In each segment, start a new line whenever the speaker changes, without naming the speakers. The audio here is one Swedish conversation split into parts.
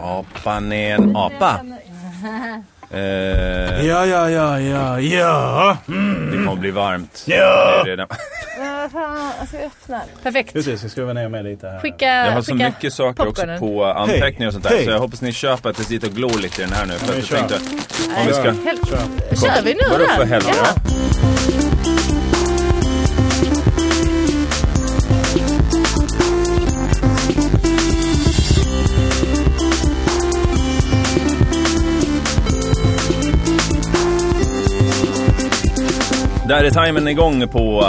Apan är en apa. Eh,
Ja, ja, ja, ja, ja.
det kommer bli varmt.
Ja.
Det är redan-
Vad fan, alltså jag öppnar.
Perfekt.
Just det, så skruva ner mig lite här.
Skicka,
Jag har så
skicka
mycket saker
popcornen.
också på anteckningar och sånt där.
Hej, hej.
Så jag hoppas ni köper att jag sitter och glor lite i den här nu. För
vi
att
kör.
jag tänkte, om vi ska...
Hel- Kör vi nu
Vadå för
här?
helvete?
Ja.
Där är timern igång på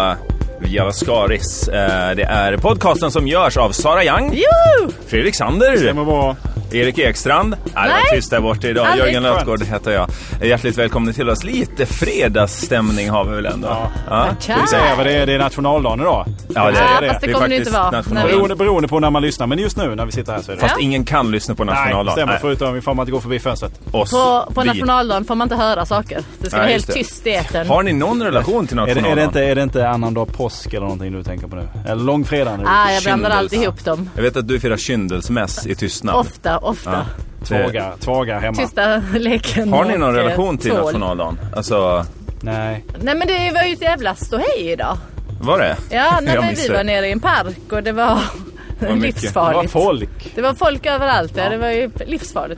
uh, Java Skaris. Eh, det är podcasten som görs av Sara Young,
Jo!
Fredrik Sander,
Stämmer bra.
Erik Ekstrand. Nej, det var
Nej.
tyst där borta idag.
Aldrig.
Jörgen Lötgård heter jag. Hjärtligt välkomna till oss. Lite fredagsstämning har vi väl ändå? Ja,
Tja!
Vi säger vad det är. Det är nationaldagen idag.
ja det är
Ja, fast det
är
kommer det
faktiskt
inte vara.
nationaldagen.
Nej,
Beroende, beroende på när man lyssnar, men just nu när vi sitter här så är det...
Fast ingen kan lyssna på
Nej,
nationaldagen.
stämmer. Förutom ifall man inte går förbi fönstret.
oss.
På, på
Vi.
nationaldagen får man inte höra saker. Det ska
Nej,
vara
just
helt
det.
tyst i etern.
Har ni någon relation till
Är det,
nationaldagen?
är, det inte, är det inte annandag påsk eller någonting du tänker på nu? Eller långfredagen? är
Ah,
det.
jag blandar
Kindles.
alltid ihop dem.
Jag vet att du firar kyndelsmäss i tystnad.
Ofta, ofta.
Ja, det-
Tvaga, tvaga hemma.
Tysta leken.
Ah. Har ni någon
och, eh,
relation till
tvål.
nationaldagen? Alltså,
Nej.
Nej men det var ju ett jävla ståhej idag.
var det?
Ja, nej,
Jag
men vi
missade.
var nere i en park och det var
var mycket.
Det var
livsfarligt.
folk.
Det var folk överallt. Ja. Det var ju livsfarligt.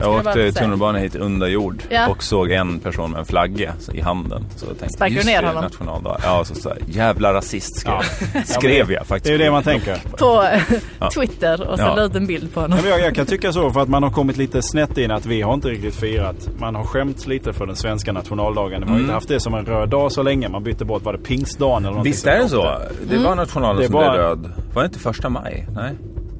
Jag
skulle bara
åkte
säga.
tunnelbana hit under jord
Ja.
och såg en person med en flagga i handen. Så jag tänkte,
Sparkade du
just
ner
det,
honom?
Nationaldag. Ja, så, så här, jävla rasist skrev, skrev jag faktiskt.
Det är ju det man tänker.
På Twitter och sen
Ja.
la ut en bild på honom.
Men Jag, jag kan tycka så för att man har kommit lite snett in att vi har inte riktigt firat. Man har skämts lite för den svenska nationaldagen. Man har
Mm.
inte haft det som en röd dag så länge. Man bytte bort, var det pingstdagen eller någonting
Visst är det
sånt
så?
där?
Det var nationaldagen
Det
som
var-
blev röd. Var det inte första maj? Nej.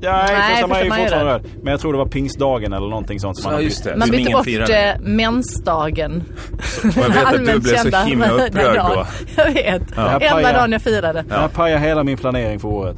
Ja,
Nej,
Nej, första maj är ju
första maj är
fortfarande röd. Men jag tror det var pingstdagen eller någonting sånt som man
Ja,
har
just
bytt.
det.
Man
Som
bytte
ingen
bort
firade.
eh, mensdagen.
Och jag vet att du
Allmänt
blev så
kända
himla
röda
upprörd
dag.
då.
Jag vet.
här
Enda
pajar-
dagen jag firade.
Det här pajar hela min planering för året.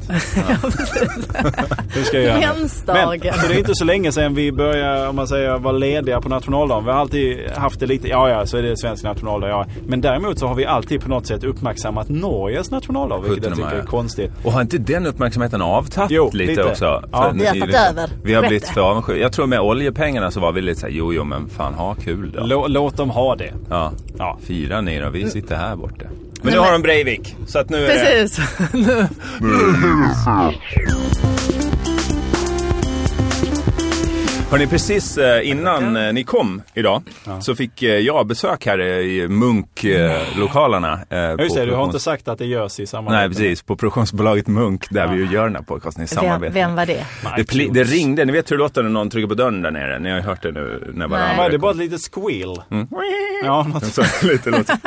Hur ska jag göra? nu?
Mensdagen.
Men, så det är inte så länge sedan vi började, om man säger, vara lediga på nationaldagen. Vi har alltid haft det lite, ja ja, så är det svensk nationaldag, ja. Men däremot så har vi alltid på något sätt uppmärksammat Norges nationaldag, vilket jag
17 maj,
tycker är
ja.
konstigt.
Och har inte den uppmärksamheten avtagit
Jo,
lite,
lite.
också?
Ja.
För
Vi har
ni-
tagit
liksom-
över.
Vi har
Rätt
blivit
det.
för avundsjuka. Jag tror med oljepengarna så var vi lite såhär, jo jo men fan ha kul då.
Lå, låt dem ha det.
Ja.
Ja.
Fira ni då, vi sitter här borta. Men nu
men-
har de Breivik, så att nu är det...
Precis.
Hörni, precis eh, innan eh, ni kom idag så fick eh, jag besök här eh, i eh, Munk-lokalerna.
Ja, Just det, du har inte sagt att det görs i samarbete.
eh, Nej, precis. På produktionsbolaget Munk, där vi ju gör den här podcasten i
Vem,
samarbete.
vem var det?
Det, pli- det ringde, ni vet hur det låter när någon trycker på dörren där nere? Ni har ju hört det nu när
Nej.
varandra
Vad är det? Bara ett litet squeal?
Mm.
Ja, något.
Så, lite, lite,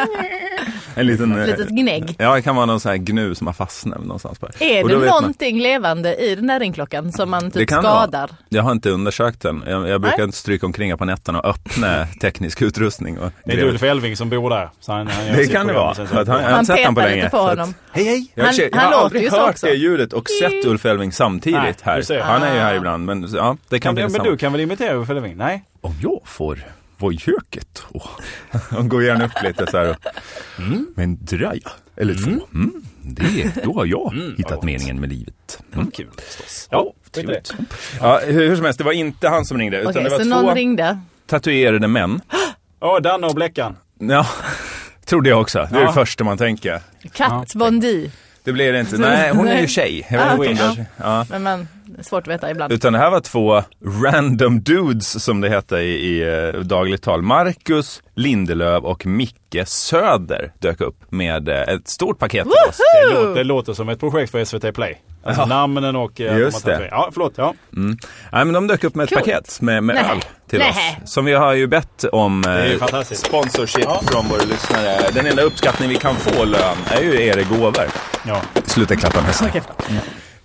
en liten... eh,
Litet gnägg.
Ja, det kan vara någon sån här gnu som har fastnat någonstans. Bara.
Är
Och
det
då vet man-
någonting levande i den där ringklockan som man
Det
typ
kan det vara.
skadar?
Jag har inte undersökt den. Jag, jag brukar
Nej.
inte stryka omkring här på nätterna och öppna teknisk utrustning. Och
Det är
grejer.
Ulf Elving som bor där. Så han, han gör
Det
sitt
kan det
program
vara.
och sen så-
För att han- jag har
Man
inte sett
petar
honom på
lite
länge.
på
så
honom.
Att, hej, hej! Jag, har
Han-
försökt- jag
han
har
låter
aldrig
ju så
hört
också. Mm.
det ljudet och sett Ulf Elving samtidigt
Nej, du
här.
ser.
Han är ju
Ah.
här ibland. Men så- ja, det kan
Kan
bli
men
samma.
du kan väl imitera Ulf Elving? Nej?
Om jag får vara i köket och han går gärna upp lite så här. och-
Mm.
Med en draja eller två. Mm, det, då har jag
Mm.
hittat meningen med livet. Mm.
Kul förstås.
Ja, trevligt. Ja, hur, hur som helst, det var inte han som ringde. Utan
Okej,
det var
så
två
någon ringde.
tatuerade män.
Åh, Danne och Bleckan.
Ja, trodde jag också. Det är
Ja.
det första man tänker.
Kat Bondi.
Det blir det inte. Nej, hon är ju tjej. Jag vet inte om det- ja.
Men man, det är svårt att veta ibland.
Utan det här var två random dudes som det hette i, i eh, dagligt tal. Marcus Lindelöf och Micke Söder dök upp med eh, ett stort paket till oss.
Det låter, det låter som ett projekt för SVT Play. Alltså namnen och... eh, att de
Just
har tagit-
det.
Ja, förlåt. Ja.
Nej, men de dök upp med ett
Coolt.
paket med, med
Nej.
öl till
Nej.
oss. Som vi har ju bett om
är ju
eh,
fantastiskt.
sponsorship från våra lyssnare. Den enda uppskattning vi kan få lön är ju era gåvor.
ja.
Sluta klappa hästar.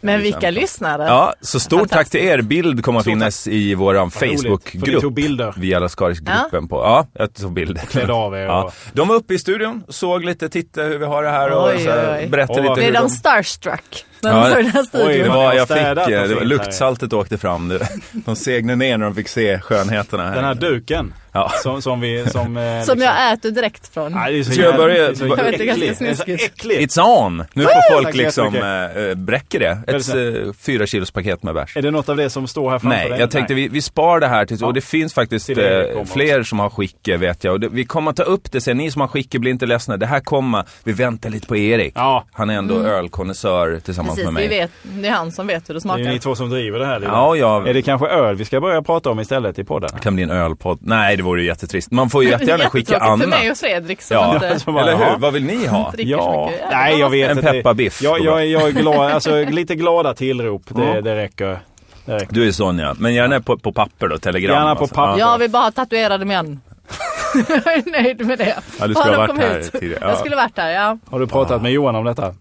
Men vilka lyssnare.
Ja, så stort tack
Fantastiskt.
till er. Bild kommer att
Stort
finnas i vår
roligt, för ni tog
Facebookgrupp.
bilder.
Via Laskaris-gruppen på. Ja, jag tog bilder.
Klädde av er och-
Ja. De var uppe i studion, såg lite, titta hur vi har det här och
Oj,
så här,
oj, oj.
berättade
Åh, vad
lite
Blev
hur
de
de...
starstruck? när de
Ja,
såg den här studion.
oj,
Det
man
var,
har
jag fick,
städat
eh, det
någonting
var,
här.
luktsaltet åkte fram. Det- De segnade ner när de fick se skönheterna. Här.
Den här duken.
Ja.
Som, som vi... Som, som
liksom-
Som jag äter direkt från.
Nej, det är så
Ska jag
jävla-
börja-
det är så
Jag
vet, det är ganska
äckligt. Det är så
snuskigt.
äckligt.
It's on! Nu får folk
Tack så
liksom
jättemycket.
äh, bräcker det.
Väldigt
Ett
snabbt.
eh, fyra kilos paket med bärs.
Är det något av det som står här framför
Nej,
dig?
jag tänkte vi, vi spar det här tills,
Ja.
och det finns faktiskt
Till det
eh,
kommer.
fler som har skicke vet jag. Och det, vi kommer ta upp det sen, ni som har skicke blir inte ledsna. Det här kommer, vi väntar lite på Erik.
Ja.
Han är ändå ölkonnässör tillsammans
Mm. Precis,
med mig.
vi vet, det är han som vet hur det
Det är
smakar.
ju ni två som driver det här. lite.
Ja, jag
Är det kanske öl vi ska börja prata om istället i podden?
kan bli en ölpodd. Nej, det vore ju jättetrist. Man får ju jättegärna skicka
Jättetråkigt
annat.
för mig och Fredrik som
Ja.
inte
Ja, som bara,
Eller
"Jaha."
hur? Vad vill ni ha?
dricker så
Ja,
mycket.
nej jag vet
En
inte.
pepparbiff
Jag,
går
jag,
bra.
jag är glad, alltså lite glada tillrop. Det,
Mm.
det räcker. Det räcker.
Du är sån ja. Men gärna på, på papper då, telegram.
Gärna på
alltså.
papper.
Ja.
Jag vill bara ha tatuerade män. jag är nöjd med det.
Ja, du
Bara
skulle ha varit
de kom
här
hit.
tidigare.
Jag
Ja,
skulle varit där, ja.
Har du pratat med Johan om detta?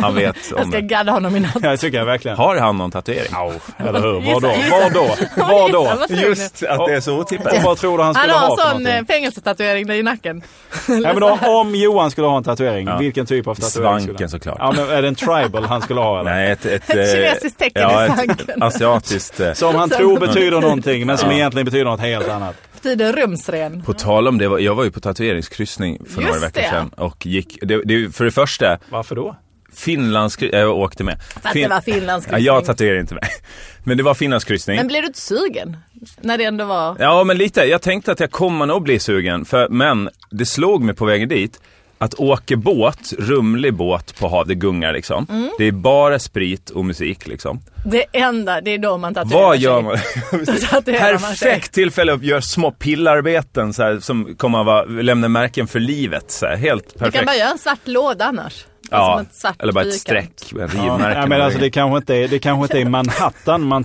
Han vet
Jag
om det.
ska gadda honom i natt.
Ja, det tycker jag verkligen.
Har han någon tatuering?
Eller hur? Var då?
Gissa,
Var då? Var
Gissa,
då?
vad säger du?
att det är så otippat.
Och vad tror du han
Han
skulle ha
har
för
en sån eh,
någonting?
fängelsetatuering där i nacken.
Ja, men om, om Johan skulle ha en tatuering,
Ja.
vilken typ av tatuering skulle
Svanken
han
såklart.
Ja, men är det en tribal han skulle ha eller?
Nej, ett, ett,
Ett
eh,
kinesiskt tecken i svanken.
asiatiskt. eh.
Som han tror betyder någonting men som egentligen betyder något helt annat.
Betyder rumsren.
På tal om det, var- jag var ju på tatueringskryssning för några
Just
veckor
det.
sedan och gick, det, det, är ju för det första,
Varför då?
Finlands, jag åkte med. För
att det var finlandskryssning.
Ja, jag tatuerade inte mig. Men det var Finlandskryssning.
Men blir du inte sugen? När det ändå var...
Ja, men lite. Jag tänkte att jag kommer nog bli sugen, för, men det slog mig på vägen dit att åka båt, rumlig båt på havet, det gungar liksom. Det är bara sprit och musik liksom.
Mm. Det enda, det är då man tatuerar
Vad
sig.
gör man?
Då tatuerar man sig.
Perfekt tillfälle att göra små pillarbeten så här, som kommer att vara, lämna märken för livet. Så här. Helt
Du kan
perfekt.
bara göra en svart låda annars. Alltså
ja,
Som ett svart
eller bara ett
fyrkant.
streck, med
Ja,
rivmärken.
men alltså, det, kanske inte är, det kanske inte är Manhattan man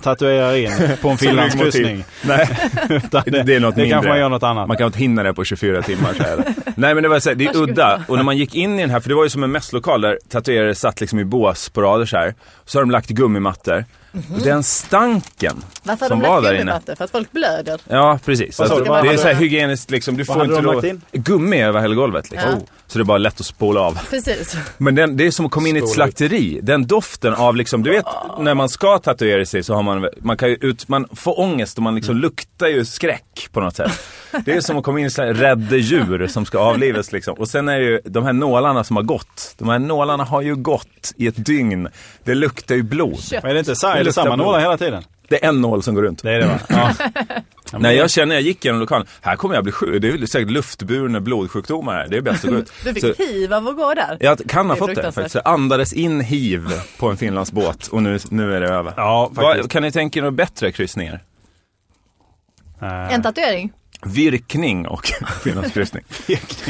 tatuerar in på typ. en finlandskryssning.
Nej,
Utan
typ- det, är något
det
mindre.
kanske man gör något annat.
Man kan inte hinna det på 24 timmar. Så här. Nej men det var så här, det är
Varsågod.
udda. Och när man gick in i den här, för det var ju som en mässlokal där tatuerare satt liksom i bås på rader så här. Så har de lagt gummimattor. Och den stanken
Mhm. Varför har
som
de
var
lagt
där inne.
gummimattor? För att folk blöder.
Ja precis.
Vad sa
Alltså,
du? Vad
det är
hade
så här
du-
hygieniskt liksom. Du får
hade
inte
de
lov-
lagt in?
Gummi över hela golvet liksom.
Ja.
Så det är bara lätt att spola av.
Precis.
Men den, det är som att komma in i ett
Spola ut.
slakteri. Den doften av liksom, du vet när man ska tatuera sig så har man, man kan ju ut, man får ångest och man liksom luktar ju skräck på något sätt. Det är som att komma in i ett slakteri, rädda djur som ska avlivas liksom. Och sen är det ju de här nålarna som har gått. De här nålarna har ju gått i ett dygn. Det luktar ju blod.
Kött.
Men är det inte så,
Det
är det
luktar
samma
blod.
nålar hela tiden?
Det är en nål som går runt.
Det är det va?
Nej jag känner, jag gick genom lokalen, här kommer jag bli sjuk. Det är väl säkert luftburna blodsjukdomar här. Det är bäst att gå ut.
Du fick
Så-
hiv av att gå där.
Jag kan ha
Det är
fått det
fruktansvärt.
faktiskt. Jag andades in hiv på en Finlandsbåt och nu, nu är det över.
Ja,
Vad-
faktiskt.
kan ni tänka er några bättre kryssningar?
En tatuering.
Virkning och Finlandskryssning.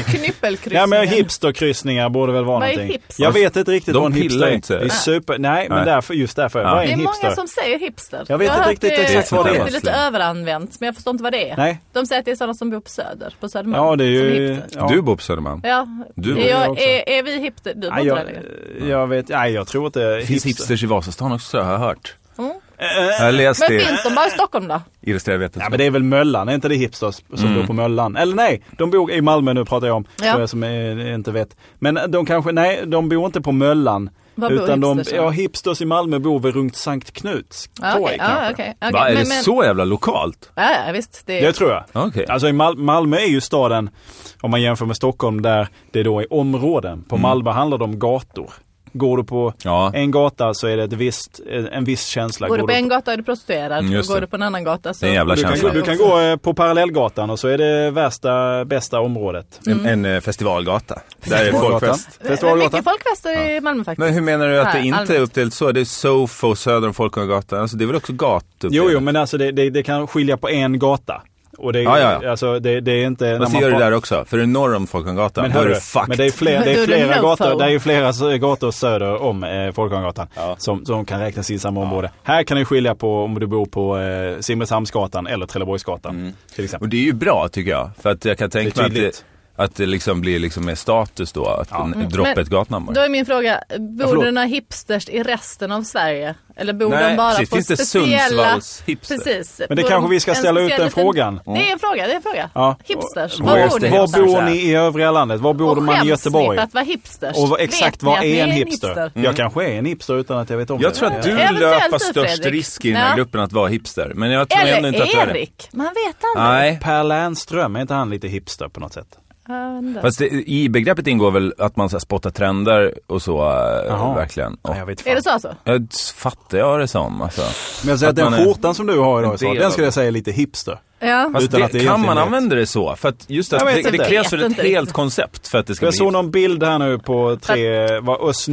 Knyppelkryssningen.
Ja men hipsterkryssningar borde väl vara
Vad är
någonting.
hipster?
Jag vet inte riktigt
De
vad en hipster
pillar
är.
inte.
Det är super, nej, men
Nej.
därför, just därför. Vad är
Det är
en hipster?
många som säger hipster.
Jag vet
har
inte
hört
riktigt
det-
exakt vad det
är.
Det är lite överanvänt, men jag förstår inte vad det är.
Nej.
De säger att det är sådana som bor på Söder, på Södermalm.
Ja det är
som
ju...
hipster.
Ja.
Du bor på Södermalm.
Ja,
Du
är,
bor
jag
jag,
också.
är, är vi hipster? Du bor
Nej,
inte
jag,
där längre?
jag vet, nej jag tror inte
Det finns
hipster.
hipsters i Vasastan också har jag hört.
Mm.
Jag har läst
Men
det
finns de bara i Stockholm då?
i Illustrerad vetenskap.
Ja men det är väl Möllan, är inte det hipsters som
Mm.
bor på Möllan? Eller nej, de bor i Malmö nu pratar jag om,
Ja.
för er som eh, inte vet. Men de kanske, nej de bor inte på Möllan.
Var bor
utan de,
hipsters då?
ja, hipsters i Malmö bor väl runt Sankt Knuts
Ja,
torg
okej.
kanske.
ja, okej. Okej,
Va, är
men-
det
men-
så jävla lokalt?
Ja, ja, visst. Det
Det
är...
tror jag.
Okej.
Alltså i Mal- Malmö är ju staden, om man jämför med Stockholm, där det då är områden. På Malmö handlar det om gator. Går du på
Mm. Ja.
en gata så är det ett visst, en viss känsla.
Går du på en
du,
gata är du prostituerad,
Mm, just
och går
det.
du på en annan gata så...
Det är en jävla
du,
känsla. Alltså.
kan, du kan gå eh, på parallellgatan och så är det värsta, bästa området.
En,
Mm.
en eh, festivalgata. Där är Eh, folkfest.
Det är mycket folkfester i Malmö faktiskt.
Men hur menar du att det
Nej,
inte är
allmänt.
uppdelat så? Det är Sofo söder om Folkungagatan. Alltså det är väl också gatuppdelat?
Jo, jo, men alltså det, det, det kan skilja på en gata. Och det,
Ja, ja, ja.
Alltså, det, det är inte... när
Men så
man
gör det
pratar-
där också. För det är norr om Folkungagatan.
Men,
då är
hörru,
det fucked.
men det är, fler, det
Då
är
är det
flera
no
gator,
foe.
det är ju flera s- gator söder om eh, Folkungagatan
Ja.
som, som kan räknas i samma område. Här kan du skilja på om du bor på eh,
Mm.
Simrishamnsgatan eller Trelleborgsgatan till exempel.
Och det är ju bra tycker jag. För att jag kan tänka
Det är
mig att det,
tydligt.
Att det liksom blir liksom mer status då, att
Ja.
ja. droppa
Mm. Men
ett gatnamn
Då
bara.
är min fråga, bor
förlåt.
det några hipsters i resten av Sverige? Eller bor
Nej,
de bara
precis,
på
det är inte
speciella...
Sundsvalls hipster.
Precis.
Men det
Bor
kanske
de
vi ska
en
ställa ut
speciell
den
liten-
frågan.
Det är en fråga, det är en fråga.
Ja.
Hipsters,
Och-
var
just
bor
det,
ni?
Var
hipsters,
bor
ja.
ni i övriga landet? Var bor
Och
man i
skäms ni
Göteborg?
för att vara hipsters?
Och vad-
Vet
exakt
ni
vad
att
är en
ni
hipster? Jag kanske är en hipster utan att jag vet om
Mm. Jag
det.
tror att du
Eventuellt
löper
du,
störst
Fredrik.
risk i den här
Ja.
gruppen att vara hipster. Men jag tror ändå inte att du
Eller
är det.
Erik, man vet aldrig.
Nej.
Per Lernström, är inte han lite hipster på något sätt?
Jag vet inte.
Fast det, i begreppet ingår väl att man så här, spottar trender och så eh,
Jaha.
verkligen. Och,
Nej, jag vet
Är
fan.
det så alltså?
jag fattar jag det som alltså.
Men jag säger att,
Att man
den
är-
skjortan som du har idag
En
så,
del
den
av
skulle
det.
jag säga är lite hipster.
Ja.
Fast
Utan
det,
att det
kan
egentligen
man
är-
använda det så? För att just
Jag
att
vet
det,
inte.
det krävs
Jag
väl
vet
ett
inte
helt
riktigt.
koncept för att det ska
Jag
bli
såg
hipster.
någon bild här nu på tre, var Özz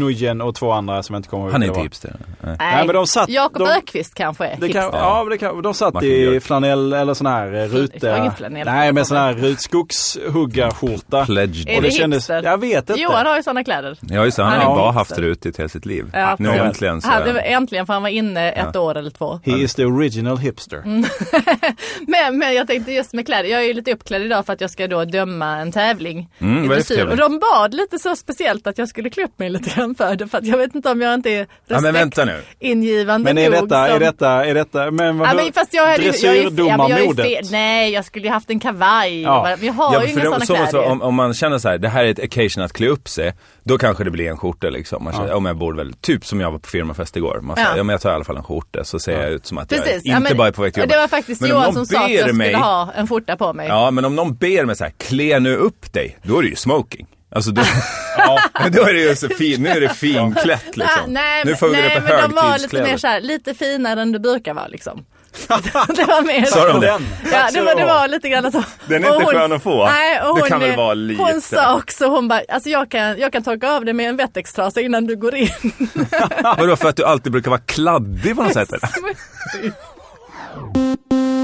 och två andra som jag inte kommer ihåg
Han är
vilka
inte
det var.
hipster. Nej.
Nej, men de satt-
Jakob
de-
Ökvist kanske är
Det kan,
hipster.
ja, men det kan, de satt
Martin
i
Björk.
flanell eller sån här eh,
Det var ingen
ruta.
flanell.
Nej, men sån här rut- skogshuggarskjorta.
Pledged.
Är
Och
det
det kändes,
hipster?
jag vet inte.
Johan har ju sådana kläder.
Ja just det, han
Han
har
är
ju bara
hipster.
haft rutigt hela sitt liv.
Ja,
nu
precis.
äntligen så.
Han, det var äntligen för han var inne ett år eller två.
He is the original hipster.
Mm, Men, men jag tänkte just med kläder, jag är ju lite uppklädd idag för att jag ska då döma en tävling.
Mm,
i
vad är det för
dressyr.
tävling?
Och de bad lite så speciellt att jag skulle klä upp mig lite grann för det. För att jag vet inte om jag inte är
ja men vänta nu.
respektingivande
Men är
nog.
detta,
som...
är detta, är detta, men vad
Ja, men fast jag hade, jag är, ja, men jag är
dressyrdomarmodet?
fel. Nej, jag skulle ju haft en kavaj.
Ja.
Men jag har
Ja,
ju
för
inga
de,
sådana
så,
kläder.
så, om, om man känner så här, det här är ett occasion att klä upp sig, då kanske det blir en skjorta liksom. Man känner, ja. men jag borde väl, typ som jag var på firmafest igår, man säger,
Ja.
ja. men jag tar i alla fall en skjorta så ser jag ut som att jag
Precis.
inte
ja, men,
bara är på väg till jobbet.
Det var faktiskt
Men om
Johan
någon
som sa att
ber
jag skulle
mig-
ha en skjorta på mig.
Ja, men om någon ber mig så här, klä nu upp dig, då är det ju smoking. Alltså då, ja, då är det ju så fin, nu är det finklätt liksom.
nej,
nu får vi
nej,
gå upp i
men de var lite mer
högtidskläder.
så här, lite finare än du brukar vara liksom. det var mer
Sa de det?
Ja, det var, det var lite grann så.
Alltså, Den är
Och
inte skön att få.
Nej, och
Det
hon,
kan väl vara
Hon
lite.
sa också, hon bara, alltså jag kan, jag kan torka av det med en vettextrasa innan du går in.
Vadå, för att du alltid brukar vara kladdig på något sätt eller?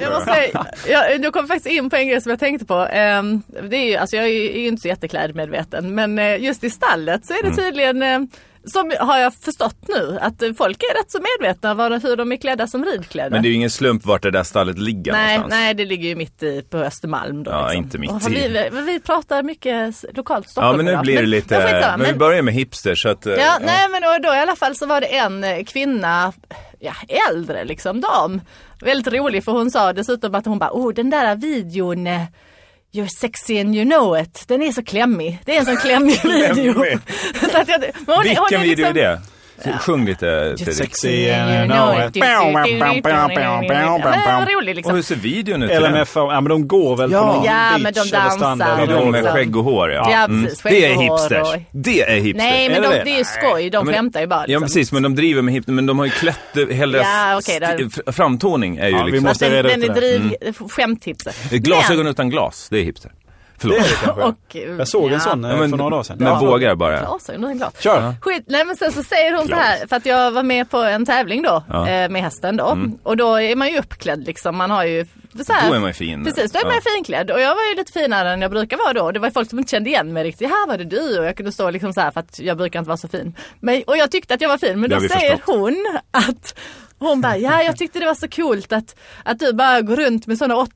Jag måste säga, jag, du kom faktiskt in på en grej som jag tänkte på. Ehm, Det är ju, alltså jag är ju är ju inte så jätteklädmedveten men eh, just i stallet så är
Mm.
det tydligen eh, som har jag förstått nu att eh, folk är rätt så medvetna var, hur de är klädda som ridklädda.
Men det är ju ingen slump vart det där stallet ligger
nej,
någonstans.
nej, det ligger ju mitt i på Östermalm då.
Ja, inte mitt
Och
i.
Vi, vi, vi pratar mycket s- lokalt
Ja
Stockholm
men nu
idag.
blir det lite,
men, skitsamma,
men vi
men-
börjar med hipsters så att... eh,
Ja, nej men och då i alla fall så var det en eh, kvinna, ja äldre liksom, dam. Väldigt rolig för hon sa dessutom att hon bara, oh den där videon eh, You're sexy and you know it. Den är så klämmig. Det är en sån klämmig video.
Klämmig.
så att jag, men hon, hon
Vilken
liksom-
video är det? Sjung lite
You're
Fredrik.
sexy and you know it. Ja, Vad
Och
rolig
hur
liksom.
ser videon ut? till den?
LMF, ja men de går väl
Ja.
på någon
Ja, men
beach
de
eller
dansar
strand
Ja,
eller
och
de
något.
med
liksom.
skägg och hår ja. Mm.
Ja, precis.
Det är
Skägg och hår
hipsters.
och-
Det är hipsters.
Nej men
Är
de,
det det?
det är ju skoj. De
Ja, men-
skämtar ju bara.
Ja
liksom.
precis, men de driver med hipster, men de har ju klätt, eh, hela
Ja,
deras
okej, där-
sti- fr- framtoning är ju
Ja, vi
liksom...
måste-
Fast den,
reda ut
den är
det Mm.
driv, skämthipster.
Glasögon utan glas, det är hipster. Förlåt.
Men- och, eh,
Jag såg
ja.
en sån eh,
Ja, men-
för några dagar sedan.
men
Ja.
vågar bara.
Glasögon utan glas.
Kör!
Skit, nej men sen så säger hon så här, för att jag var med på en tävling då
Ja.
eh, med hästen då.
Mm.
Och då är man ju uppklädd liksom, man har ju så här.
Då är man ju fin.
Precis, då är man ju finklädd. Och jag var ju lite finare än jag brukar vara då. Det var ju folk som inte kände igen mig riktigt. Här var det du och jag kunde stå liksom så här för att jag brukar inte vara så fin. Men, och jag tyckte att jag var fin men
Det
då
har vi
säger
förstått.
hon att hon bara, ja jag tyckte det var så coolt att, att du bara går runt med sådana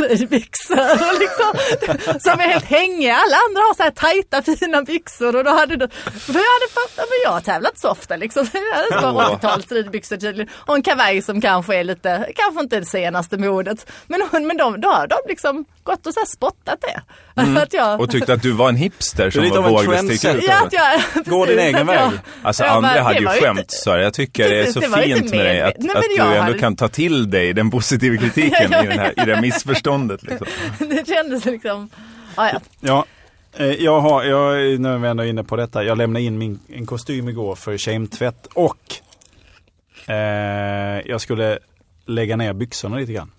80-talsbyxor och liksom, som är helt hängiga. Alla andra har så här tajta fina byxor och då hade du, för jag hade fattat, men jag har tävlat så ofta liksom. Jag hade bara
Åh.
80-tals ridbyxor tydligen och en kavaj som kanske är lite, kanske inte det senaste modet. Men, hon- men de, då har de liksom gått och så här spottat det.
Mm.
Att jag,
typ-
Och tyckte att du var en hipster som
lite
var
av en
vågmästig.
trendsetter.
ja, att jag,
Gå din
precis,
egen
att jag-
väg.
Alltså
jag bara,
André
det
hade ju
var
skämt
inte-
så här. jag tycker det är
Precis,
så
det var inte
fint med dig att,
medvetet. Nej, men
att du
jag
ändå
hade-
kan ta till dig den positiva kritiken i, den här, i det här missförståndet. Liksom.
Det kändes liksom, ja, ja.
Ja. Eh, Jag har, jag, nu är vi ändå inne på detta, jag lämnade in min, en kostym igår för kemtvätt och eh, jag skulle lägga ner byxorna lite grann.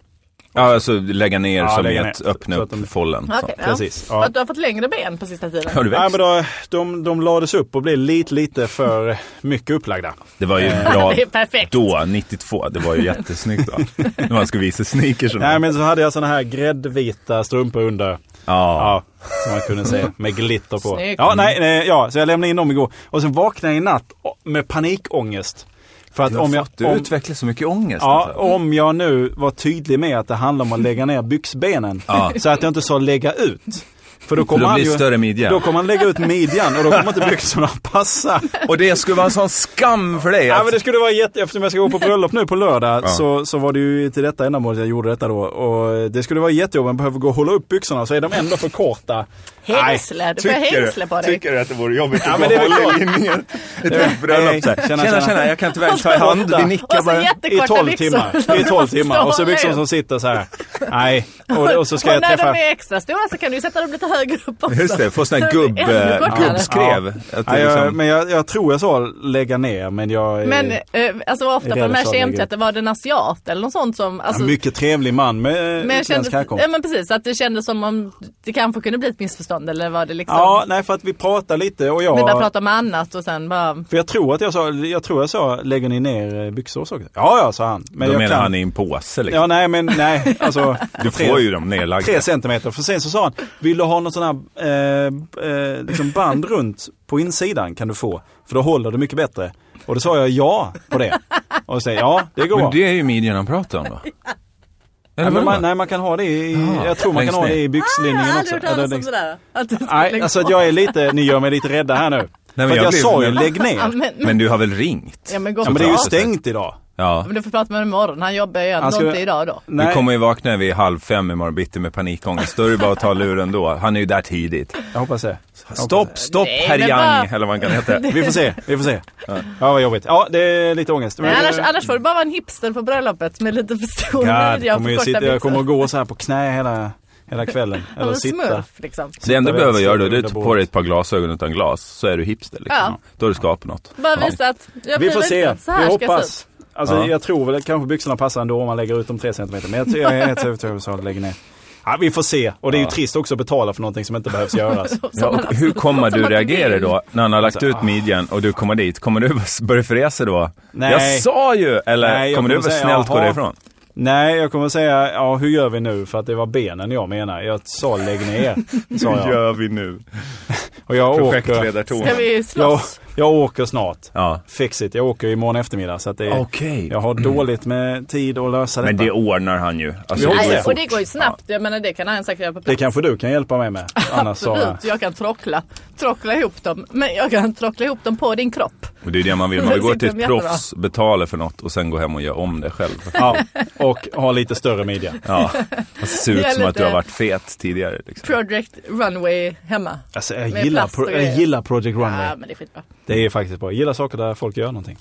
Ja, alltså lägga ner
Ja,
som
lägga
i
ner.
att
Så-
öppna
så
upp
att de-
follen.
Okej,
Så.
ja.
Precis, ja.
Att du har fått längre ben på sista tiden.
Har du
Nej,
växt?
men då, de, de lades upp och blev lite, lite för mycket upplagda.
Det var ju bra
Det är perfekt.
då, 92. Det var ju jättesnyggt då. När man skulle visa sneakers.
Nej men så hade jag såna här gräddvita strumpor under.
Ja.
Ja, som man kunde se med glitter på.
Snyggt.
Ja, nej, nej, ja, så jag lämnade in dem igår. Och sen vaknade jag i natt med panikångest. För att
Du,
om jag,
du
om,
utvecklar så mycket ångest.
ja,
alltså.
om jag nu var tydlig med att det handlar om att lägga ner byxbenen.
Ja.
Så att jag inte sa lägga ut. För då
För
kommer
då
han
blir
ju...
det större midja.
Då kommer han lägga ut midjan och då kommer inte byxorna passa.
Och det skulle vara en sån skam för dig.
Ja,
att-
men det skulle vara jätte, eftersom jag ska gå på bröllop nu på lördag
Ja.
så, så var det ju till detta ändamål jag gjorde detta då. Och det skulle vara jättejobbigt, man behöver gå och hålla upp byxorna så är de ändå för korta.
Hängsle, du får hängsle på dig.
du att det vore jobbigt
Ja, men det är väl klart.
linjen? Ett
Nej,
bröllop såhär.
tjena,
Tjena, tjena,
tjena,
jag kan tyvärr inte ta i hand. Vi nickar
Och så
bara.
I
jättekorta
12
byxor.
timmar. I 12 timmar. Och så byxor som sitter så här. Nej. Och, och så ska jag
och när
träffa...
de är extra stora så kan du ju sätta dem lite högre upp också.
Just det, få sån här
Så de blir
gubb,
ännu
eh,
kortare.
gubbskrev. Att det
Nej, jag,
liksom,
Men jag, jag tror jag sa lägga ner, men jag...
Men
eh,
eh, alltså vad ofta
Det
på
är
de här
realistiskt.
kemtvätten, var det en asiat eller något sånt som... Alltså,
mycket trevlig man med
men, jag
utländsk
kände,
härkomst.
ja, men precis, att det kändes som om det kanske kunde bli ett missförstånd eller var det liksom...
Ja, nej för att vi pratar lite och jag...
Vi började prata om annat och sen bara...
För jag tror att jag sa, jag tror jag sa, lägger ni ner eh, byxor och så? Ja, ja, sa han. Men
då
jag
menar
kan...
han i en påse liksom.
Ja, nej, men nej, alltså.
Du
tre-
får ju dem nedlagda.
Tre centimeter. För sen så sa han, vill du ha någon sån här eh, eh, liksom band runt på insidan kan du få. För då håller det mycket bättre. Och då sa jag ja på det. Och så säger jag, ja, det går bra.
Men det är ju midjan han pratar om då. Eller
Nej, men
vadå?
man, nej, man kan ha det i,
Jaha,
jag tror man
längst
kan ha det
ner. Ah,
i byxlinningen också.
hört talas
Eller
om
längst-
sådär. Att det liksom- skulle
Nej,
läggas
alltså
på.
att jag är lite, ni gör mig lite rädda här nu.
men
För att
jag
jag
blev-
sa ju
men-
lägg
Ja,
ner.
men, men,
Men du har väl ringt?
ja, men, gott,
Ja men det är ju
ja.
stängt idag.
Ja.
Men du får prata med honom imorgon, han jobbar ju ändå
Han ska-
inte idag då.
Du
Nej.
kommer ju vakna vid halv fem imorgon bitti med panikångest. Då är det bara att ta luren då. Han är ju där tidigt.
Jag hoppas det.
Stopp, stopp,
Nej,
herr
men
Young,
vad-
eller vad han kan heta.
Vi får se, vi får se. Ja vad jobbigt. Ja det är lite ångest. Men, eh,
Nej, annars, annars får du bara vara en hipster på bröllopet med lite för stor
ja, det
midja och
kommer
för
ju
korta
sitta,
byxor.
jag kommer att gå så här på knä hela, hela kvällen.
Som
Eller
en
sitta.
smurf liksom.
Det enda du behöver göra då, det är att ta
Underbart.
på dig ett par glasögon utan glas, så är du hipster liksom.
Ja.
Då har du skapat något.
Bara visa att jag
Vi
blir
får se,
lite- Så
vi
här ska jag se
hoppas.
ut.
Alltså
Ja.
jag tror väl att kanske byxorna passar ändå om man lägger ut dem tre centimeter. Men jag, jag är helt övertygad om att lägger ner. Ja, vi får se. Och det är ju trist också att betala för någonting som inte behövs göras.
Ja, och hur
alltså
kommer du reagera då när han har lagt ut midjan och du kommer dit? Kommer du börja fresa då?
Nej.
Jag sa ju! Eller
Nej, jag
kommer du
kommer
bara
säga,
snällt gå
jaha.
därifrån?
Nej, jag kommer säga, ja hur gör vi nu? För att det var benen jag menar. Jag sa lägg ner. Sa jag.
vi nu?
Och jag åker,
Ska
Projektledartonen.
vi
jag,
slåss?
jag åker snart.
Ja.
Fix it, jag åker ju imorgon eftermiddag. Så att det,
Okej.
Jag har dåligt med tid att lösa
Men
detta.
det ordnar han ju. Alltså, det
Jo,
går ju
Nej,
det.
fort.
och det går ju snabbt. Jag menar det kan han säkert göra på
det
plats.
kanske du kan hjälpa mig med? Annars Sara.
Absolut, jag kan trockla, trockla ihop dem. Men jag kan trockla ihop dem på din kropp.
Och det är det man vill. Man vill gå till ett
Sitter de jättebra?
proffs, betala för något och sen gå hem och göra om det själv.
Ja, och ha lite större midja.
Ja. Och se
Det
ut
är
som att du
lite-
har varit fet tidigare. Liksom.
Project Runway hemma.
Alltså, jag,
Med
gillar,
plast och
pro- jag
grejer.
gillar Project Runway.
Ja, men det är skitbra.
Det är faktiskt bra. Jag gillar saker där folk gör någonting.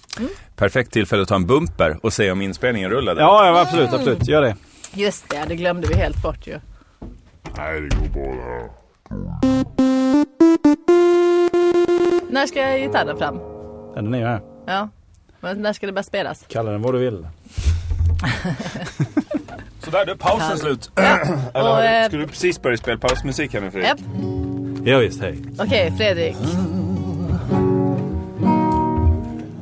Perfekt tillfälle att ta en bumper och se om inspelningen rullade.
Ja, ja absolut, absolut. Gör det.
Just det, det glömde vi helt bort ju. När ska gitarren fram?
Ja, Den är ju här.
Ja. Men när ska det börja spelas?
Kalla den vad du vill.
Sådär, då är pausen slut.
Och, eh,
Skulle du precis börja spela pausmusik här nu Fredrik?
japp.
Ja, visst, hej.
Okej, Fredrik.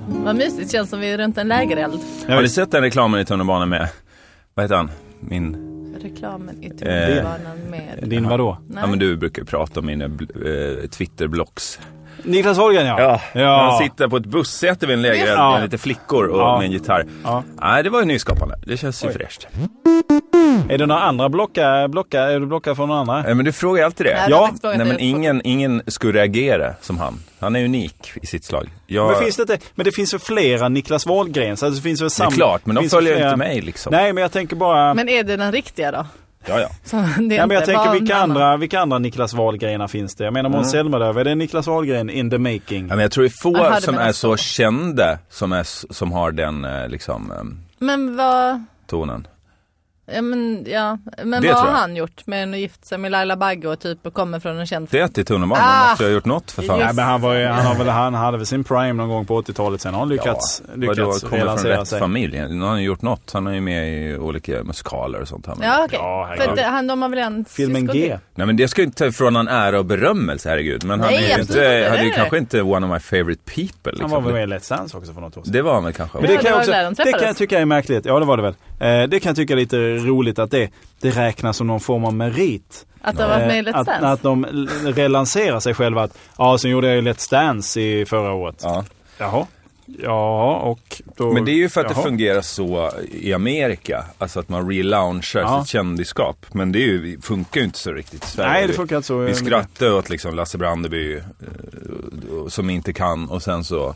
Vad mysigt, känns som vi är runt en lägereld.
Har du sett den reklamen i tunnelbanan med, vad heter han? Min,
Reklamen
Eh,
i tunnelbanan med...
Din vadå?
ja men du brukar ju prata om mina eh, Twitter-blocks.
Niklas Holgen ja.
När han
ja.
sitter på ett bussäte vid en lägereld
Just det.
med lite flickor och
Ja.
med en gitarr.
Ja.
Nej, det var ju nyskapande. Det känns ju
Oj.
fräscht.
Är det några andra blocka, blocka, är du blockad från några andra?
Eh, Men du frågar alltid det.
Nej,
Ja.
jag har faktiskt frågat
Nej men
dig det.
ingen, ingen skulle reagera som han. Han är unik i sitt slag. Jag,
Men finns det inte, men det finns ju flera Niklas Wahlgrens. Alltså det finns ju
det är
sam-
klart, men de
finns ju
följer ju
flera-
inte mig liksom.
Nej, men jag tänker bara...
Men är det den riktiga då?
Ja, ja.
Så det är
Nej, men jag
inte
tänker
bara
vilka
en annan.
andra, vilka andra Niklas Wahlgrenar finns det? Jag menar
Mm.
Måns Zelmerlöw, är det Niklas Wahlgren in the making?
Ja, men jag tror det är få
Aha, du
som
menar
är så
så.
kända som, är, s- som har den eh, liksom, ehm,
Men vad...
tonen.
Ja, men, ja. men
Det
vad har
tror jag.
han gjort med att gifta sig med Laila Bagge och typ och kommer från en känd...
Det är till tunnelbanan,
Ah!
måste jag ha gjort något för fan.
Just
Nej, men han, var ju, han, har väl, han hade väl sin prime någon gång på 80-talet sen har han lyckats, lyckats
Vadå, kommer från
relansera
rätt
sig.
familj? Han har ju gjort något. Han är ju med i olika musikaler och sånt. Här.
Ja okej,
Ja, herregud.
för att, eh, han, de har väl en
Filmen
syskon till?
G.
Nej men det ska ju inte ta ifrån han ära och berömmelse, herregud. Men han
Nej,
är ju
absolut
inte,
inte.
hade ju
Nej.
kanske inte one of my favorite people.
Han var
Liksom.
väl med i Let's Dance också för något år sedan.
Det var han väl kanske.
Men
Ja,
det,
det
kan jag
var
också,
väl där de
det
träffades.
kan jag tycka är märkligt. Ja, det var det väl. Eh, det kan jag tycka är lite roligt att det, det räknas som någon form av merit.
Att de har varit med i
Eh,
Let's
att,
Dance?
att de l- relanserar sig själva att ja, sen gjorde jag ju Let's Dance i förra året.
Ja.
Jaha. Ja, och då...
Men det är ju för att det
Jaha.
fungerar så i Amerika. Alltså att man relaunchar
Ja.
sitt kändisskap. Men det är ju, funkar ju inte så riktigt i Sverige.
Nej, det funkar inte så.
Vi skrattar ju åt liksom Lasse Brandeby eh, som inte kan och sen så,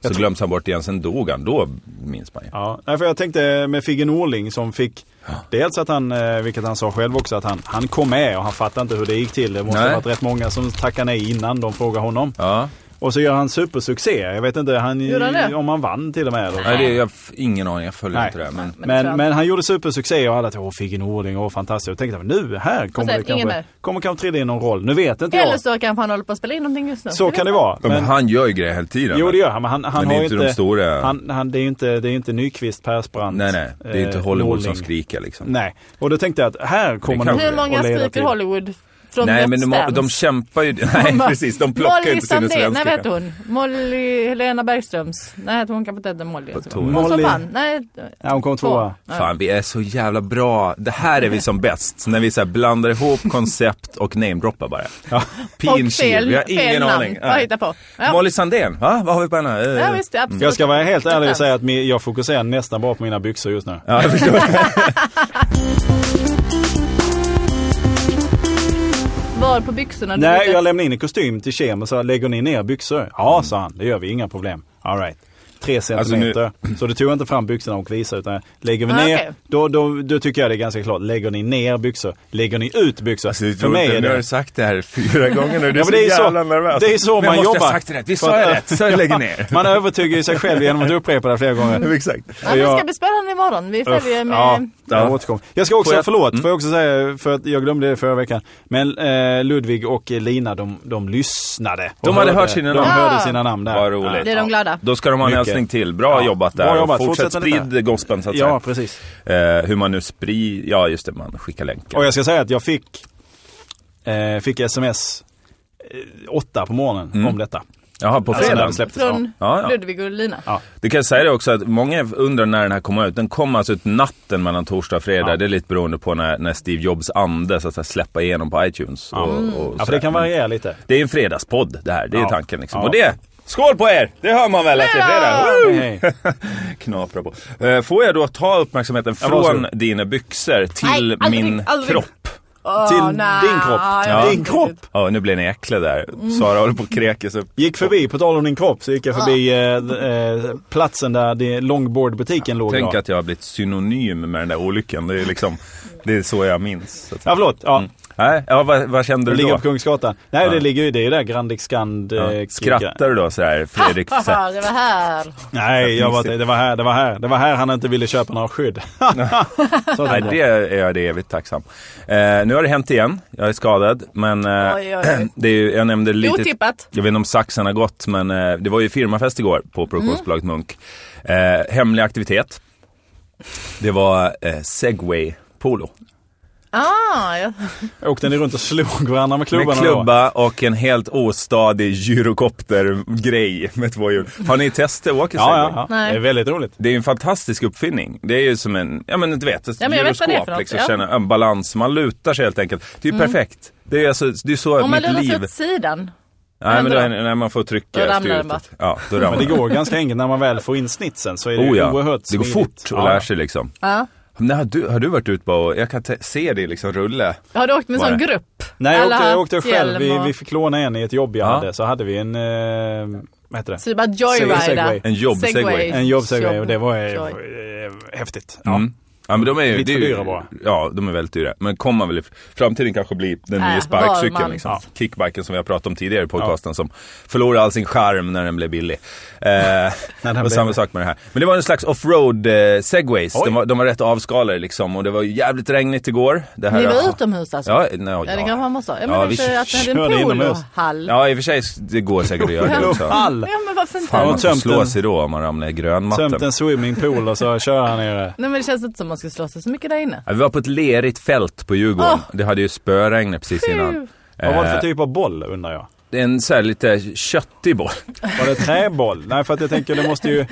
så glöms han bort igen. Sen dog han, då minns man ju.
Ja, nej, för jag tänkte med Figge Norling som fick Dels att han, eh, vilket han sa själv också, att han, han kom med och han fattade inte hur det gick till. Det måste
Nej.
ha varit rätt många som tackade nej innan de frågade honom.
Ja.
Och så gör han supersuccé. Jag vet inte han,
Gjorde han det?
om han vann till och med. Eller
Nej, det, jag har f- ingen aning, jag följer
Nej.
inte det. Men,
tror
Men,
jag.
men han gjorde supersuccé och alla tänkte åh Figge Norling, åh fantastiskt. Jag tänkte nu, här kommer
sen
det
ingen
kanske,
mer.
kommer kanske trilla in någon roll. Nu vet inte
Eller
jag.
så kanske han håller på att spela in någonting just nu.
Så kan det vara.
men,
Men,
han gör ju grejer hela tiden.
jo det gör han, men han, han
men
har
det är
ju
inte de stora.
Han, han, det är ju inte, det är ju inte Nyqvist, Persbrandt,
nej, nej, det är ju inte
eh,
Hollywood
Norling.
som skriker liksom.
Nej, och då tänkte jag att här
Det
kommer
kan
nog
bli.
Hur
att
många
leda
skriker
till-
Hollywood från
Nej
Let's
men de,
Dance?
de kämpar ju, nej
bara,
precis, de plockar
Molly
inte sina
Sandén, Nej vad
svenska.
hette hon? Molly Helena Bergströms. Nej hette hon kanske inte hette Molly.
På
Hon
Molly.
som vann. Nej.
Ja, hon kom tvåa.
Ja.
Fan, vi är så jävla bra. Det här är vi som bäst. När vi så här blandar ihop koncept och namedroppar bara.
Och
Pinchill,
fel,
vi har
fel
ingen
namn.
aning.
Vad hittar på? Ja.
Molly Sandén, va? Vad har vi på henne? Eh,
ja visst, det, absolut.
Jag ska vara helt ärlig och säga att mi- jag fokuserar nästan bara på mina byxor just nu.
Ja, jag förstår.
Var på byxorna? Du
Nej,
brukar-
jag lämnade in en kostym till Kem och sa lägger ni ner byxor? Ja, sa han. Det gör vi, inga problem. All right. Tre
Alltså, nu-
centimeter. Så du tog inte fram byxorna och visade utan lägger vi
Ah,
ner,
okej.
då, då, då tycker jag det är ganska klart. Lägger ni ner byxor? Lägger ni ut byxor?
Alltså,
För mig är
Nu har du
det...
sagt det här fyra gånger nu. Du
Ja,
är,
men det är
så
så-
jävla nervös.
det är så
Men
man
måste
jobbar.
Jag sagt det rätt? Vi sa jag rätt? Så jag lägger ner.
Man övertygar ju sig själv genom att upprepa det flera gånger.
Exakt.
Ja, men det
jag-
ska bli spännande imorgon. Vi följer med...
Ja, jag
Ja.
återkommer. Jag ska också,
Får jag- Mm.
förlåt, får jag också säga, för att jag glömde det förra veckan. Men eh, Ludvig och Lina, de, de lyssnade. och
De hade hört sina
De
namn.
hörde
Ja.
sina namn där.
Vad roligt.
Det är de glada.
Då ska de ha en
Mycket.
hälsning till. Bra
Ja.
jobbat där.
Bra jobbat.
Och Fortsätt
Fortsätt med
sprid gospeln så att
Ja, precis.
säga. Eh, hur man nu sprid... Ja, just det. Man skickar länkar.
Och jag ska säga att jag fick, eh, fick sms eh, åtta på morgonen
Mm.
om detta.
Jaha, på
Alltså, när
fredag.
det släpptes.
Från
Ja, ja.
Ludvig och Lina.
Ja.
Det kan jag säga det också att många undrar när den här kommer ut. Den kommer alltså ut natten mellan torsdag och fredag.
Ja.
Det är lite beroende på när, när Steve Jobs ande så att säga, släppa igenom på iTunes. Och, och
Ja, för
sådär.
det kan variera lite.
Det är en fredagspodd det här. Det är
Ja.
tanken liksom.
Ja.
Och det, skål på er! Det hör man väl att det är fredag. Woo!
Hej, hej.
Knapra på. Eh, Får jag då ta uppmärksamheten
Ja, varsågod.
från dina byxor till
Nej, aldrig,
min
aldrig.
kropp?
Åh,
Till
nej,
din kropp.
jag vet
Din
inte
kropp!
riktigt.
Ja, nu blir ni äckliga där. Sara håller på och kräker sig.
Gick förbi, på tal om din kropp, så gick jag förbi eh, eh, platsen där det- longboardbutiken låg
Tänk
idag.
att jag har blivit synonym med den där olyckan. Det är liksom, det är så jag minns. Så att säga.
Ja, förlåt. Ja.
Nej, ja, vad, vad kände
Det
du
ligger
Mm. då?
på Kungsgatan. Nej,
Ja.
det ligger ju, det är ju där Grandic Scand... eh,
Ja.
kika.
Skrattar du då så här, Fredrik? Så här,
Haha, det var här.
Nej, jag var, det var här, det var här, det var här han inte ville köpa några skydd. Så
Nej,
tänkte
det
jag.
är jag det evigt tacksam. Eh, nu har det hänt igen. Jag är skadad, men eh,
Oj, oj, oj.
det är ju, jag nämnde lite...
Otippat.
Jag vet inte om saxen har gått, men eh, det var ju firmafest igår på produktionsbolaget
Mm.
Munk. Eh, hemlig aktivitet. Det var eh, segway-polo.
Ah, ja.
Åkte ni runt och slog varandra med klubban?
Med klubba och en helt ostadig gyrokoptergrej med två hjul. Har ni testat att åka segway?
Ja, ja, ja.
Nej.
Det är väldigt roligt.
Det är ju en fantastisk uppfinning. Det är ju som en, ja men du vet, ett
Ja, men jag vet vad det är för något,
liksom,
ja. Mm.
känna en balans. Man lutar sig helt enkelt. Det är ju perfekt. Det är ju alltså, det är så
Om man
mitt
lutar sig
liv...
åt sidan.
Nej, men
Ändå
då,
då?
när man får
Då
trycka
ramlar
styret.
den bara.
Ja, då ramlar
Men det
den.
går ganska enkelt när man väl får in snitsen så är det
Oh,
ju
ja.
oerhört
Det går
smidigt.
fort och
Ja,
lär sig liksom.
Ja.
Men har, du, har du varit ute på, jag kan te- se det liksom rulla.
Har du åkt med en
Var
sån
det?
grupp?
Nej, jag
Alla
åkte,
har
jag åkte
haft
själv. Vi,
hjälm och-
vi fick låna en i ett jobb jag
Ja.
hade. Så hade vi en, eh, vad heter det?
Så det är bara
Segway.
joyrida.
En jobb-segway.
En jobbsegway och det var eh,
Joy.
eh, häftigt. Ja.
Ja. Mm. Ja, men de är ju,
Lite
det är
för
ju-
dyra bara.
Ja, de är väldigt dyra. Men kommer väl i framtiden kanske bli den
Äh,
nya sparkcykeln.
Varman.
Liksom.
Ja.
Kickbiken som vi har pratat om tidigare i podcasten som förlorar all sin charm när den blev billig. Eh,
den
och
blev
samma
det.
sak med det här. Men det var en slags offroad eh, segways.
Oj.
De var, de var rätt avskalade liksom och det var ju jävligt regnigt igår. Det här,
Ni var utomhus alltså?
Ja, nej,
Ja, det kanske man måste ha. Ja,
Ja,
men
vi
kanske att ni hade
körde
en
inomhus.
polohall.
Ja, i och för sig, det går säkert att göra det också.
All,
Ja, men varför
Fan,
Ja,
inte?
man får
tömt
slå
en-
sig då om man ramlar i grönmattan.
tömt en swimmingpool och så kör han nere.
Nej men det känns inte som man ska slå sig så mycket där inne.
Ja, vi var på ett lerigt fält på Djurgården.
Åh.
Det hade ju spöregnat precis innan.
Fy.
Vad var det för
Eh,
typ av boll undrar jag?
det är en så här lite köttig boll.
Var det träboll? Nej, för att jag tänker det måste ju...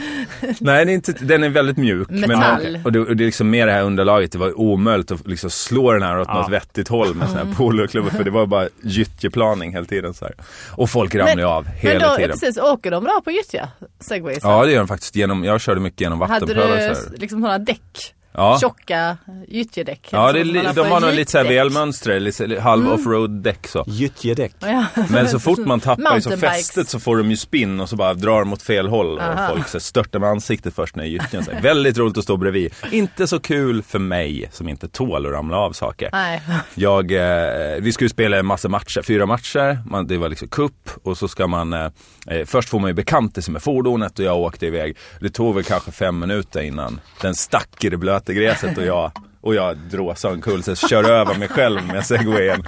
Nej, det är inte, den är väldigt mjuk.
Metall.
och, det, och det är liksom mer det här underlaget. Det var ju omöjligt att liksom slå den här åt
Ja.
något vettigt håll med
Mm.
sådana här poloklubbor. För det var bara gyttjeplaning hela tiden. Så här. Och folk ramlade ju av
Men
hela
då,
tiden.
precis, åker de bra på gyttja? Segways?
Ja, det gör de faktiskt. Genom, jag körde mycket genom
Hade du
vattenpölar. så här.
liksom sådana däck?
Ja.
Tjocka gyttjedäck?
Ja, det är
Som man
li- de
har på Mm.
har nog
en
lite såhär
jeepdäck.
välmönstrade, lite så- halv offroad däck så.
Gyttjedäck.
Ja.
Men så fort man tappar liksom
Mountainbikes.
fästet så får de ju spinn och så bara drar de åt fel håll och
Aha.
folk så här störtar med ansiktet först när gyttjan. så här. Väldigt roligt att stå bredvid. Inte så kul för mig som inte tål att ramla av saker.
Nej.
Jag, eh, vi skulle spela en massa matcher, fyra matcher. Man, det var liksom cup och så ska man, eh, eh, först får man ju bekanta sig med fordonet och jag åkte iväg. Det tog väl kanske fem minuter innan den stack i det blöta gräset och jag och jag dråsar omkull, så jag kör över mig själv med segwayen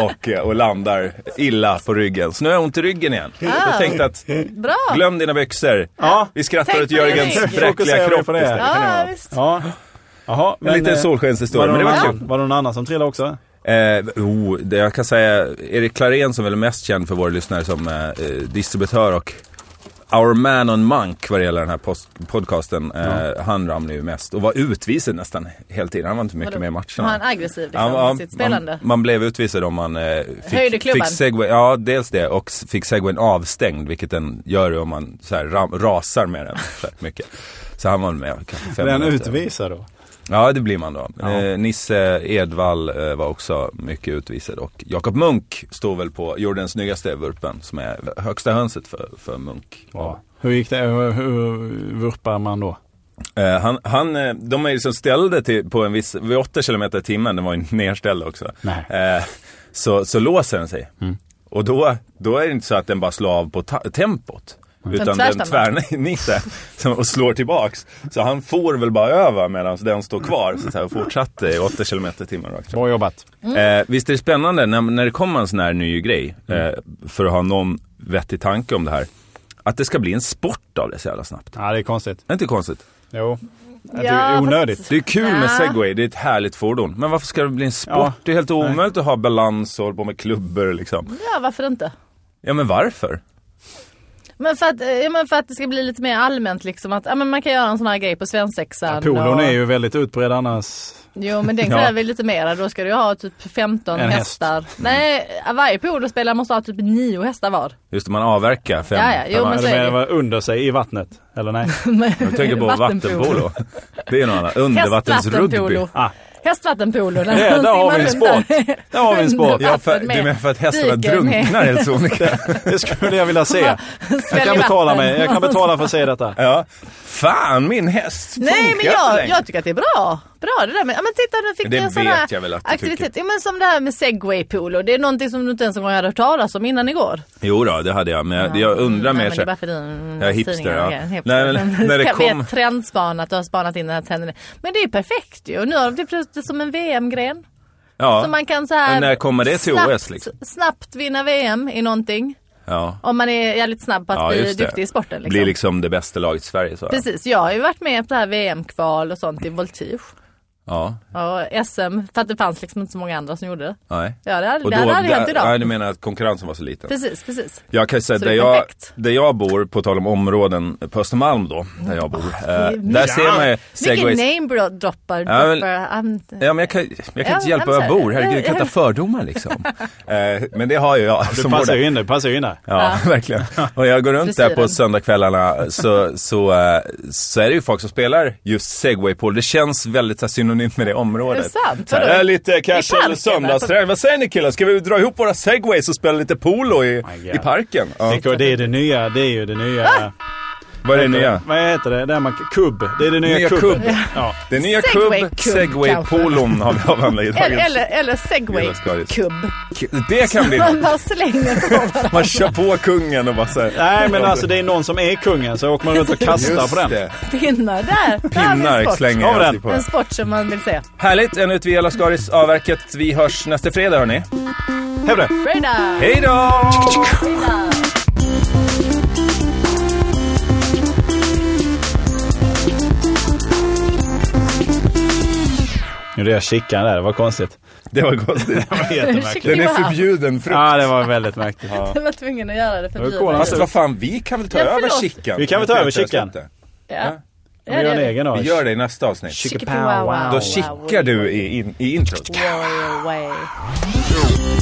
och, eh, och landar illa på ryggen. Så nu har jag ont i ryggen igen.
Ah.
Jag tänkte att,
Bra!
glöm dina byxor.
Ja.
Vi skrattar
Tänk
åt
på din
Jörgens
rygg.
bräckliga
Fokusera
kropp
på det. Ah.
istället.
kan
Ja,
vara.
visst.
Ja. Jaha,
En liten
eh,
solskenshistoria,
var
men det
någon
var kul.
annan- Var det någon annan som trillade också?
Eh, oh, det jag kan säga, Erik Klarén som väl är mest känd för våra lyssnare som eh, eh, distributör och Our man on Monk vad det gäller den här post- podcasten, eh, han ramlade ju mest och var utvisad nästan hela tiden. Han var inte mycket
Vadå?
med i matcherna.
Var han aggressiv liksom,
Han- han-
i sitt spelande?
Man, man blev utvisad om man eh,
Höjde
fick,
klubban.
fick segway, ja dels det och s- fick segwayn avstängd vilket den gör om man så här, ram, rasar med den så här, mycket. Så han var med kanske fem
Blev han
minuter.
utvisad då?
Ja det blir man då.
Ja.
Eh, Nisse Edvall eh, var också mycket utvisad och Jakob Munk stod väl på, gjorde den snyggaste vurpen som är högsta hönset för, för Munk.
Ja. Hur gick det? Hur, hur vurpar man då?
Eh, han, han, eh, de är ju som ställde till, på en viss, vid 8 km i timmen, den var ju nerställd också.
Nej. Mm.
Eh, så, så låser den sig. Och då, då är det inte så att den bara slår av på ta- tempot.
Mm.
Utan den
tvärstannar.
tvärnitar som- och slår tillbaks. Så han får väl bara över medan den står kvar. Så, så här, och fortsatte i 8 km i timmen rakt fram.
Bra jobbat.
Mm.
Eh, visst är det spännande när, när det kommer en sån här ny grej, eh, för att ha någon vettig tanke om det här, att det ska bli en sport av det så jävla snabbt.
Ja, det är konstigt.
Är inte konstigt?
Jo. Ja, det
Ja,
är
fast-
onödigt.
Det är kul med
Ja.
segway, det är ett härligt fordon. Men varför ska det bli en sport?
Ja.
Det är helt omöjligt att ha balans och hålla på med klubbor liksom.
Ja, varför inte?
Ja men varför?
Men för, att, eh, ja, men för att det ska bli lite mer allmänt liksom att ja, men man kan göra en sån här grej på svensexan.
Ja, Polon
och-
är ju väldigt utbredd annars.
Jo men den
Ja.
kräver lite mer. Då ska du ha typ 15
En häst.
hästar. Nej, varje polospelare måste ha typ 9 hästar var.
Just det, man avverkar fem.
Ja, ja, jo,
fem-
men- så
Eller
är
menar
det.
var under sig i vattnet? Eller nej?
Jag tänker på
Vattenpolo.
vattenpolo. Det är något annat. Undervattensrugby.
Hästvattenpolo.
Ah.
Hästvattenpolo. Där,
Ja, där har vi en
simmar runt
sport. Där har vi en sport.
Ja, för,
Vatten med.
du menar för att hästarna
Dyker med.
drunknar helt sonika?
Det skulle jag vilja se. Jag
Sväljer
kan betala
vatten.
mig. Jag kan betala för att se detta.
Ja. Fan, min häst
Nej
funkar
men
inte
jag,
längre.
jag tycker att det är bra. Bra det där med, ja men titta nu fick
Det
du en sån
vet
här
jag väl att du
aktivitet.
tycker.
Ja, men som det här med segwaypolo. Det är någonting som du inte ens en gång hade hört talas om innan igår.
Jo då, det hade jag, men jag, jag undrar
Mm, Nej,
mer
men det är
så
bara
här,
för din
Jag är hipster,
tidning,
ja.
okej, en
Nej, men när det
Kan-
kom-
ett trendspan att du har spanat in den här trenden. Men det är ju perfekt ju. Och Nu har de typ plötsligt det som en VM-gren.
ja.
Så man kan så här
Men när kommer det till
snabbt,
OS, liksom?
snabbt vinna VM i någonting.
ja.
Om man är jävligt snabb på att
ja,
bli
just det.
duktig i sporten. Liksom.
Blir liksom det bästa laget i Sverige. Så. här.
Precis, jag har ju varit med på det här VM-kval och sånt i voltige.
Ja,
Och SM, för att det fanns liksom inte så många andra som gjorde det.
nej.
Ja, det hade,
Och
det hade aldrig hänt
där, nej,
idag.
du menar att konkurrensen var så liten?
Precis, precis.
Jag kan ju säga,
Så
där
det är
jag,
perfekt.
där jag bor, på tal om områden, på Östermalm då, där jag bor. eh, där ser man ju segways.
Mycket name droppar.
Ja, men-
droppar um,
Ja, men jag kan, jag kan
Ja,
inte hjälpa
men
var jag
så-
bor, herregud jag kan inte ha fördomar liksom. Eh, men det har ju jag
Du
som bor
passar
där.
ju in där. du passar ju in där.
Ja, verkligen. Och jag går runt där på
Frisyren.
söndagskvällarna så, så, eh, så är det ju folk som spelar just segwaypool. Det känns väldigt så här, synonymt med det området.
Är det sant?
Så här,
Vadå?
"Äh, lite
I
kanske eller
parken,
söndagsträning. Vad säger ni killar? Ska vi dra ihop våra segways och spela lite polo i,
Oh My God.
i parken? Ja.
Tänk, och det är det nya. Det är ju det
Ah!
nya.
Vad är det nya?
Vad heter det? Där man, kubb. Det är det nya,
Nya
kubben.
kubb.
Ja.
Det är nya
Segway-kubb,
kubb, segwaypolon har vi avhandlat i
Eller,
dagens.
eller, eller
Gud,
segway-kubb.
Det kan bli
Man bara slänger på varandra.
Man kör på kungen och bara så här.
Nej men alltså det är någon som är kungen så åker man runt och kastar
Just
på den.
det.
pinnar. Där! Där har vi en
Pinnar
sport.
slänger
Har vi
jag
den?
sig på.
En sport som man vill se.
Härligt, ännu ett Via Skaris avverkat. Vi hörs nästa fredag hörni.
Häv det.
Fredag!
Hej då!
Nu är jag kikaren där, det var konstigt.
Det var konstigt.
Det var jättemärkligt.
Den är
Wow.
förbjuden frukt.
Ja, det var väldigt märkligt.
Jag var tvungen att göra det
Det
för
var
bjudet.
coolare.
Fast Alltså, vad fan, vi kan väl ta
Ja,
över
förlåt.
chicken?
Vi kan väl ta över chicken.
Ja.
Vi gör en egen då.
Vi gör det i nästa avsnitt.
Chickapee wow wow.
Då kickar du i, in, i introt.
Warrior way.